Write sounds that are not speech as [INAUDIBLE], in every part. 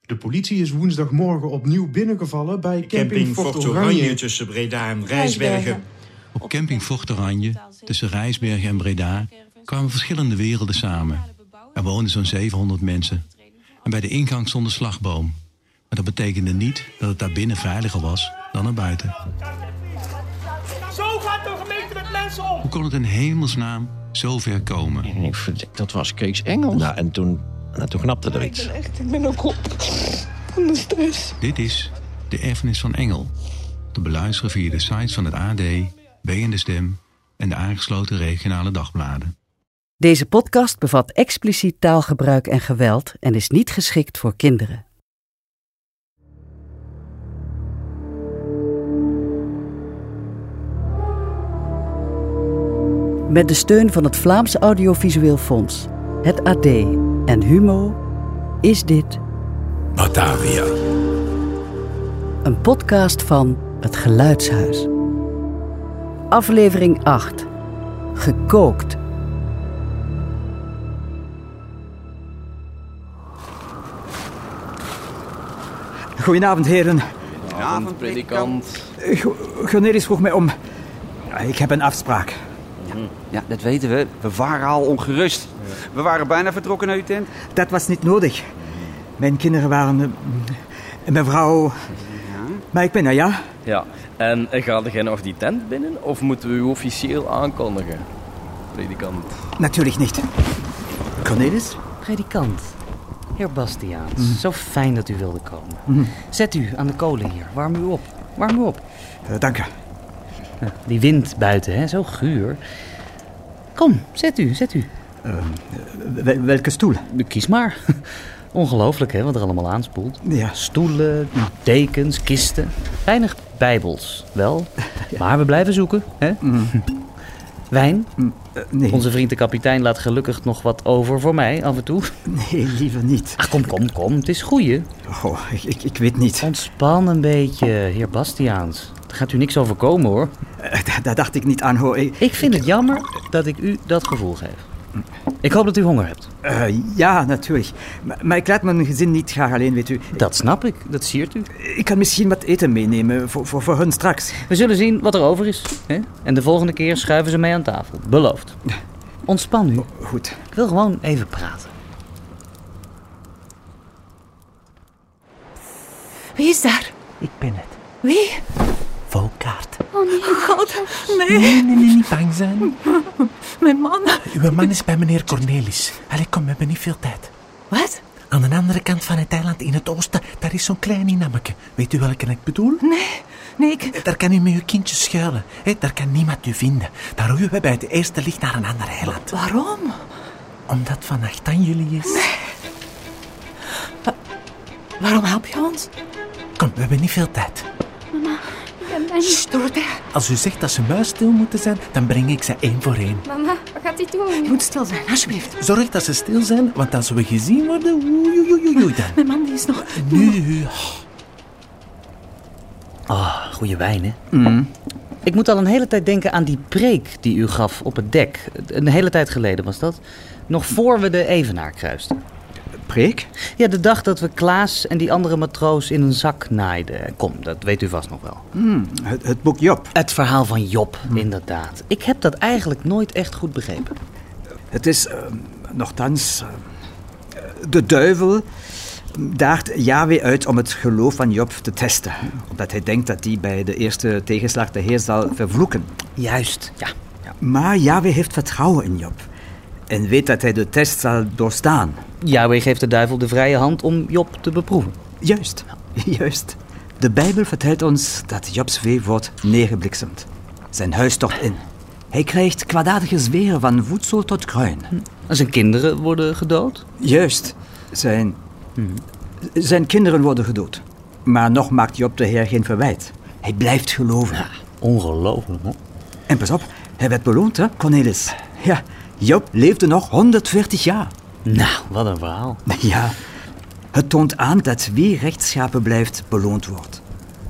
De politie is woensdagmorgen opnieuw binnengevallen bij camping, camping Fort Fort Oranje. Oranje tussen Breda en Rijsbergen. Op camping Fort Oranje, tussen Rijsbergen en Breda, kwamen verschillende werelden samen. Er woonden zo'n 700 mensen. En bij de ingang stond een slagboom. Maar dat betekende niet dat het daar binnen veiliger was dan er buiten. Zo gaat de gemeente met mensen om. Hoe kon het in hemelsnaam zo ver komen? En ik vond, dat was Kees Engels. Nou, en toen, nou, toen knapte er iets. Dit is De Erfenis van Engel. Te beluisteren via de sites van het AD, BN De Stem en de aangesloten regionale dagbladen. Deze podcast bevat expliciet taalgebruik en geweld en is niet geschikt voor kinderen. Met de steun van het Vlaams Audiovisueel Fonds, het AD en Humo is dit Batavia. een podcast van Het Geluidshuis. Aflevering 8. Gekookt. Goedenavond, heren. Avond, predikant. Goneris vroeg mij om. Ja, Ik heb een afspraak. Ja, dat weten we. We waren al ongerust. We waren bijna vertrokken naar uw tent. Dat was niet nodig. Mijn kinderen waren. eh, En mijn vrouw. Maar ik ben er, ja. Ja, en gaat degene nog die tent binnen of moeten we u officieel aankondigen? Predikant. Natuurlijk niet. Cornelis? Predikant, heer Bastiaans, zo fijn dat u wilde komen. Mhm. Zet u aan de kolen hier, warm u op, warm u op. Eh, Dank u. Die wind buiten, hè, zo guur. Kom, zet u, zet u. wel- welke stoel? Kies maar. [LAUGHS] Ongelooflijk, hè, wat er allemaal aanspoelt. Ja. Stoelen, dekens, kisten. Weinig bijbels, [LAUGHS] wel. Maar we blijven zoeken, hè? [LAUGHS] Wijn? Mhm. Eh, Nee. Onze vriend de kapitein laat gelukkig nog wat over voor mij, af en toe. Nee, liever niet. Ach, kom, kom, kom. Het is goeie. Oh, ik, ik, ik weet niet. Ontspan een beetje, heer Bastiaans. Er gaat u niks overkomen, hoor. Eh, da- Daar dacht ik niet aan, hoor. Ik- Ik vind het jammer dat ik u dat gevoel geef. Ik hoop dat u honger hebt. eh, ja, natuurlijk. Maar, maar ik laat mijn gezin niet graag alleen, weet u. Dat snap ik, dat siert u. Ik kan misschien wat eten meenemen voor, voor, voor hun straks. We zullen zien wat er over is. Hè? En de volgende keer schuiven ze mee aan tafel. Beloofd. Ontspan u. Goed. Ik wil gewoon even praten. Wie is daar? Ik ben het. Wie? Volkaart. [LAUGHS] God, nee. Oh, Nee, nee, nee, niet bang zijn. Mijn man. Uw man is bij meneer Cornelis. Allee, kom, we hebben niet veel tijd. Wat? Aan de andere kant van het eiland in het oosten, daar is zo'n klein inammeke. Weet u welke ik bedoel? Eh, Nee, nee, ik... Daar kan u met uw kindje schuilen. Hè? Daar kan niemand u vinden. Daar roeien we bij het eerste licht naar een ander eiland. Waarom? Omdat vannacht aan jullie is. Waarom help je ons? Kom, we hebben niet veel tijd. Sst, Dorothea. Als u zegt dat ze muisstil moeten zijn, dan breng ik ze één voor één. Mama, wat gaat hij doen? Je moet stil zijn, alsjeblieft. Zorg dat ze stil zijn, want als we gezien worden, oei, oei, oei, oei, dan. Mijn man die is nog... Nu, Ah, goede wijn, hè? Ik moet al een hele tijd denken aan die preek die u gaf op het dek. Een hele tijd geleden was dat. Nog voor we de Evenaar kruisten. Preek? Ja, de dag dat we Klaas en die andere matroos in een zak naaiden. Kom, dat weet u vast nog wel. Hmm, het, het boek Job. Het verhaal van Job, inderdaad. Ik heb dat eigenlijk nooit echt goed begrepen. Het is ehm, nochtans. ehm, de duivel daagt Yahweh uit om het geloof van Job te testen. Omdat hij denkt dat hij bij de eerste tegenslag de Heer zal vervloeken. Juist, ja. Maar Yahweh heeft vertrouwen in Job. En weet dat hij de test zal doorstaan. Yahweh geeft de duivel de vrije hand om Job te beproeven. Juist, [LAUGHS] juist. De Bijbel vertelt ons dat Jobs wee wordt neergebliksemd. Zijn huis stort in. Hij krijgt kwaadaardige zweren van voedsel tot kruin. En zijn kinderen worden gedood. Juist. Zijn hm, Zijn kinderen worden gedood. Maar nog maakt Job de Heer geen verwijt. Hij blijft geloven. Ongelooflijk, hè? En pas op, hij werd beloond, hè, Cornelis. Ja, Job leefde nog 140 jaar. Nou, wat een verhaal. Ja, het toont aan dat wie rechtschapen blijft, beloond wordt.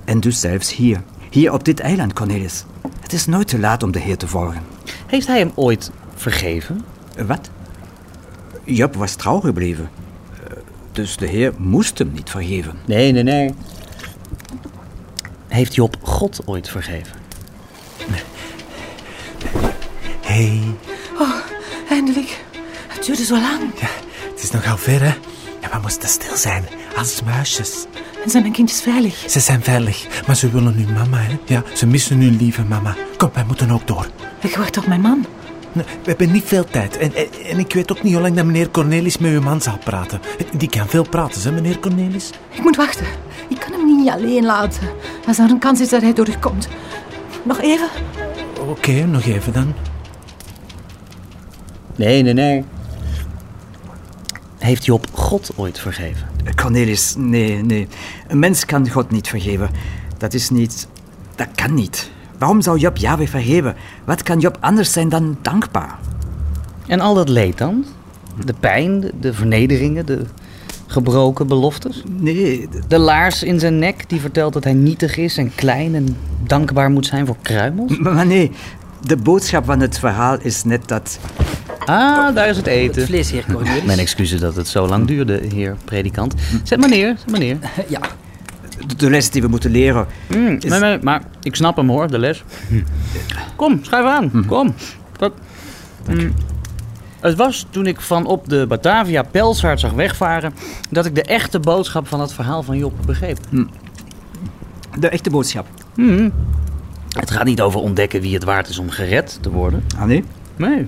En dus zelfs hier, hier op dit eiland, Cornelis. Het is nooit te laat om de Heer te volgen. Eh, Heeft hij hem ooit vergeven? Wat? Job was trouw gebleven. Eh, Dus de Heer moest hem niet vergeven. Nee, nee, nee. Heeft Job God ooit vergeven? Hey, Oh, eindelijk. Het duurde zo lang. het is nogal ver, hè? Ja, we moesten stil zijn, als muisjes. En zijn mijn kindjes veilig? Ze zijn veilig, maar ze willen hun mama, hè? Ja, ze missen hun lieve mama. Kom, wij moeten ook door. Ik wacht op mijn man. Nee, We hebben niet veel tijd en, en, en ik weet ook niet hoe lang dat meneer Cornelis met uw man zal praten. Die kan veel praten, hè, meneer Cornelis? Ik moet wachten. Ik kan hem niet alleen laten. Als er een kans is dat hij terugkomt. Nog even. Oké, nog even dan. Nee, nee, nee. Heeft Job God ooit vergeven? Cornelis, nee, nee. Een mens kan God niet vergeven. Dat is niet... Dat kan niet. Waarom zou Job Yahweh vergeven? Wat kan Job anders zijn dan dankbaar? En al dat leed dan? De pijn, de, de vernederingen, de gebroken beloftes? Nee. De laars in zijn nek die vertelt dat hij nietig is en klein en dankbaar moet zijn voor kruimels? Maar, maar nee, de boodschap van het verhaal is net dat... Ah, daar is het eten. Het vlees, heer Cornelis. Mijn excuses dat het zo lang duurde, heer predikant. Zet maar neer, zet maar neer. Ja. De, de les die we moeten leren... Mm, nee, nee, maar ik snap hem hoor, de les. Kom, schuif Mhm. aan, kom. Dat, Mm, het was toen ik van op de Batavia Pelsvaart zag wegvaren... dat ik de echte boodschap van het verhaal van Job begreep. De echte boodschap? Mm. Het gaat niet over ontdekken wie het waard is om gered te worden. Ah, nee? Nee.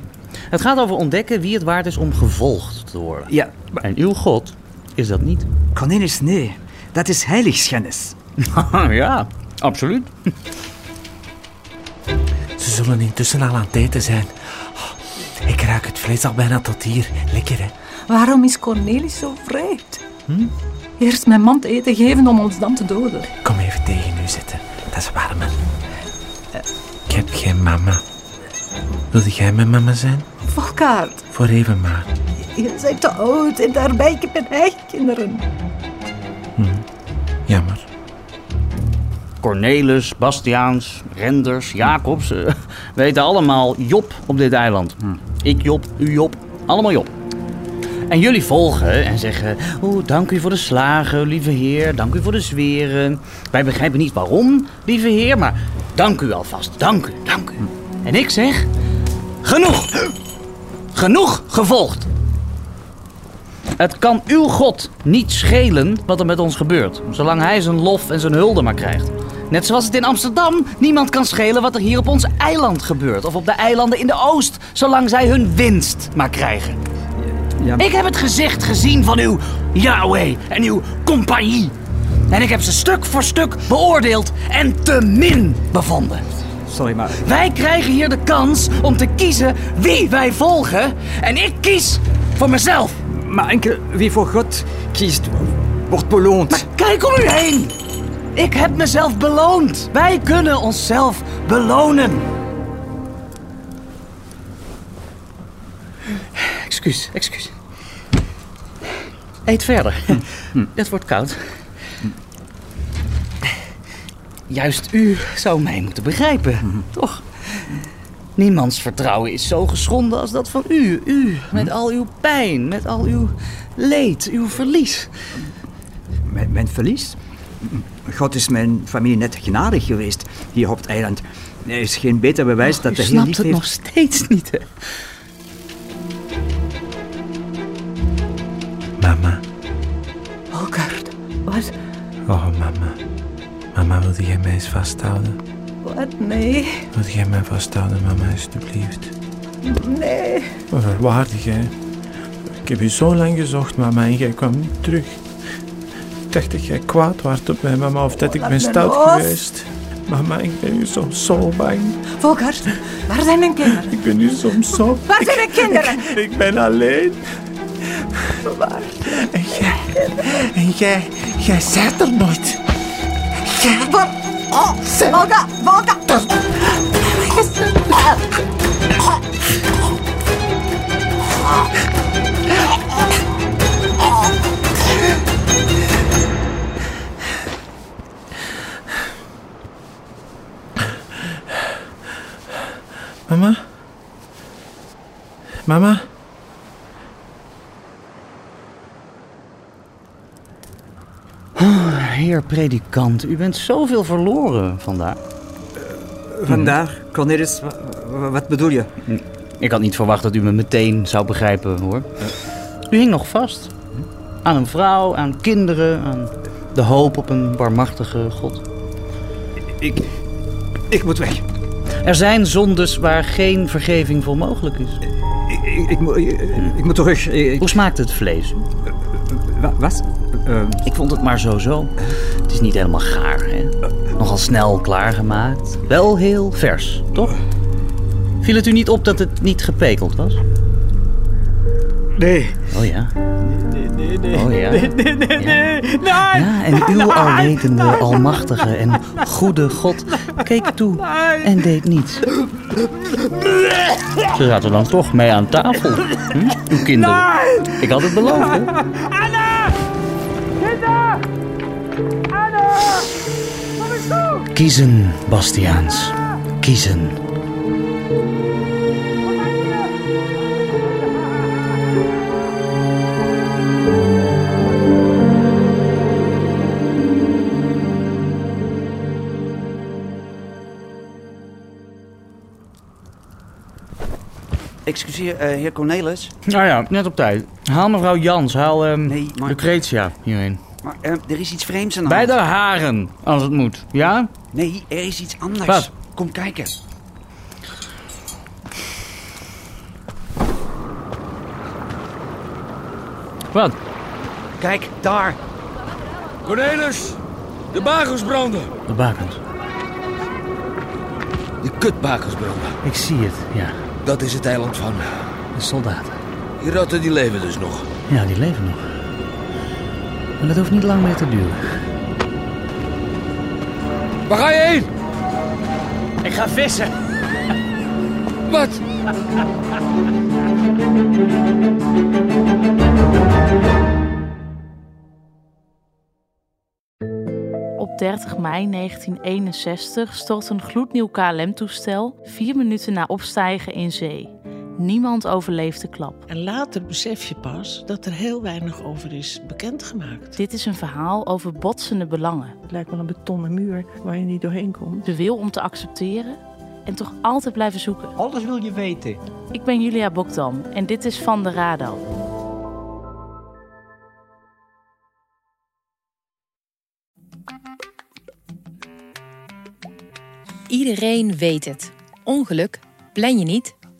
Het gaat over ontdekken wie het waard is om gevolgd te worden. Ja. En uw God is dat niet. Cornelis, nee. Dat is heiligschennis. [LAUGHS] ja, absoluut. Ze zullen intussen al aan het eten zijn. Oh, ik ruik het vlees al bijna tot hier. Lekker, hè? Hm? Waarom is Cornelis zo vreemd? Eerst mijn man te eten geven om ons dan te doden. Kom even tegen u zitten. Dat is warm. hè? Ik heb geen mama. Wilde jij mijn mama zijn? Volkaard, Voor even maar. je bent te oud en daarbij ik heb mijn eigen kinderen. Jammer. Cornelis, Bastiaans, Renders, Jacobs. eh, [LAUGHS] weten allemaal Job op dit eiland. Ik Job, u Job, allemaal Job. En jullie volgen en zeggen... Oh, dank u voor de slagen, lieve heer. Dank u voor de zweren. Wij begrijpen niet waarom, lieve heer. Maar dank u alvast. Dank u, dank u. En ik zeg... Genoeg! Genoeg gevolgd! Het kan uw God niet schelen wat er met ons gebeurt, zolang hij zijn lof en zijn hulde maar krijgt. Net zoals het in Amsterdam niemand kan schelen wat er hier op ons eiland gebeurt, of op de eilanden in de oost, zolang zij hun winst maar krijgen. Ik heb het gezicht gezien van uw Yahweh en uw compagnie. En ik heb ze stuk voor stuk beoordeeld en te min bevonden. Sorry, maar... Wij krijgen hier de kans om te kiezen wie wij volgen. En ik kies voor mezelf. Maar enkel wie voor God kiest, wordt beloond. Maar kijk om u heen. Ik heb mezelf beloond. Wij kunnen onszelf belonen. Excuus, excuus. Eet verder. Het wordt koud. Juist u zou mij moeten begrijpen, toch? Niemands vertrouwen is zo geschonden als dat van u. U, met al uw pijn, met al uw leed, uw verlies. Mijn, mijn verlies? God is mijn familie net genadig geweest hier op het eiland. Er is geen beter bewijs dat u de Heer snapt lief het heeft... nog steeds niet, hè? Mama. Volkaard, wat? Oh, mama. Mama, wilde jij mij eens vasthouden? Wat? Nee, Wilde jij mij vasthouden, mama, alsjeblieft? nee. Waardig, hè? Ik heb u zo lang gezocht, mama, en jij kwam niet terug. Ik dacht dat jij kwaad was op mij, mama, of dat ik laat ben me stout los. geweest. Mama, ik ben u soms zo bang. Volkaard, waar zijn mijn kinderen? Ik ben u soms zo... Waar zijn mijn kinderen? Ik ben alleen. bewaard. En jij, en jij, jij zijt er nooit. Jij... Wat? Oh, Volga, Volga! Mama? Mama? Oh, heer predikant, u bent zoveel verloren vandaag. Vandaag, Cornelis, wa- wa- wat bedoel je? Ik had niet verwacht dat u me meteen zou begrijpen, hoor. U hing nog vast. Aan een vrouw, aan kinderen, aan de hoop op een barmachtige God. Ik, ik moet weg. Er zijn zondes waar geen vergeving voor mogelijk is. Ik, ik, ik, moet- ik- ik moet terug. Hoe smaakt het vlees? wat? Eh. Ik vond het maar zo-zo. Het is niet helemaal gaar, hè? Nogal snel klaargemaakt. Wel heel vers, toch? Viel het u niet op dat het niet gepekeld was? Nee. Oh ja. Nee, nee, nee. Oh ja. Nee, nee, nee, nee. Ja, en uw alwetende, almachtige en goede God keek toe en deed niets. Ze zaten dan toch mee aan tafel. Hm? Uw kinderen. Ik had het beloofd, hè? Kinder! Anna! Kom eens toe! Kiezen, Bastiaans. Kiezen. Excuseer, eh, heer Cornelis. Nou ja, net op tijd. Haal mevrouw Jans, haal ehm Lucretia hierheen. Maar eh, er is iets vreemds aan de Bij hand. de haren, als het moet. Ja? Nee, er is iets anders. Wat? Kom kijken. Wat? Kijk, daar. Cornelis, de bakens branden. De bakens. De kutbakens branden. Ik zie het, ja. Dat is het eiland van. eh, De soldaten. Die ratten die leven dus nog. Ja, die leven nog. Maar dat hoeft niet lang meer te duren. Waar ga je heen? Ik ga vissen. Wat? Op 30 mei 1961 stort een gloednieuw KLM-toestel vier minuten na opstijgen in zee. Niemand overleeft de klap. En later besef je pas dat er heel weinig over is bekendgemaakt. Dit is een verhaal over botsende belangen. Het lijkt wel een betonnen muur waar je niet doorheen komt. De wil om te accepteren en toch altijd blijven zoeken. Alles wil je weten. Ik ben Julia Bokdam en dit is Van de Radar. Iedereen weet het. Ongeluk plan je niet,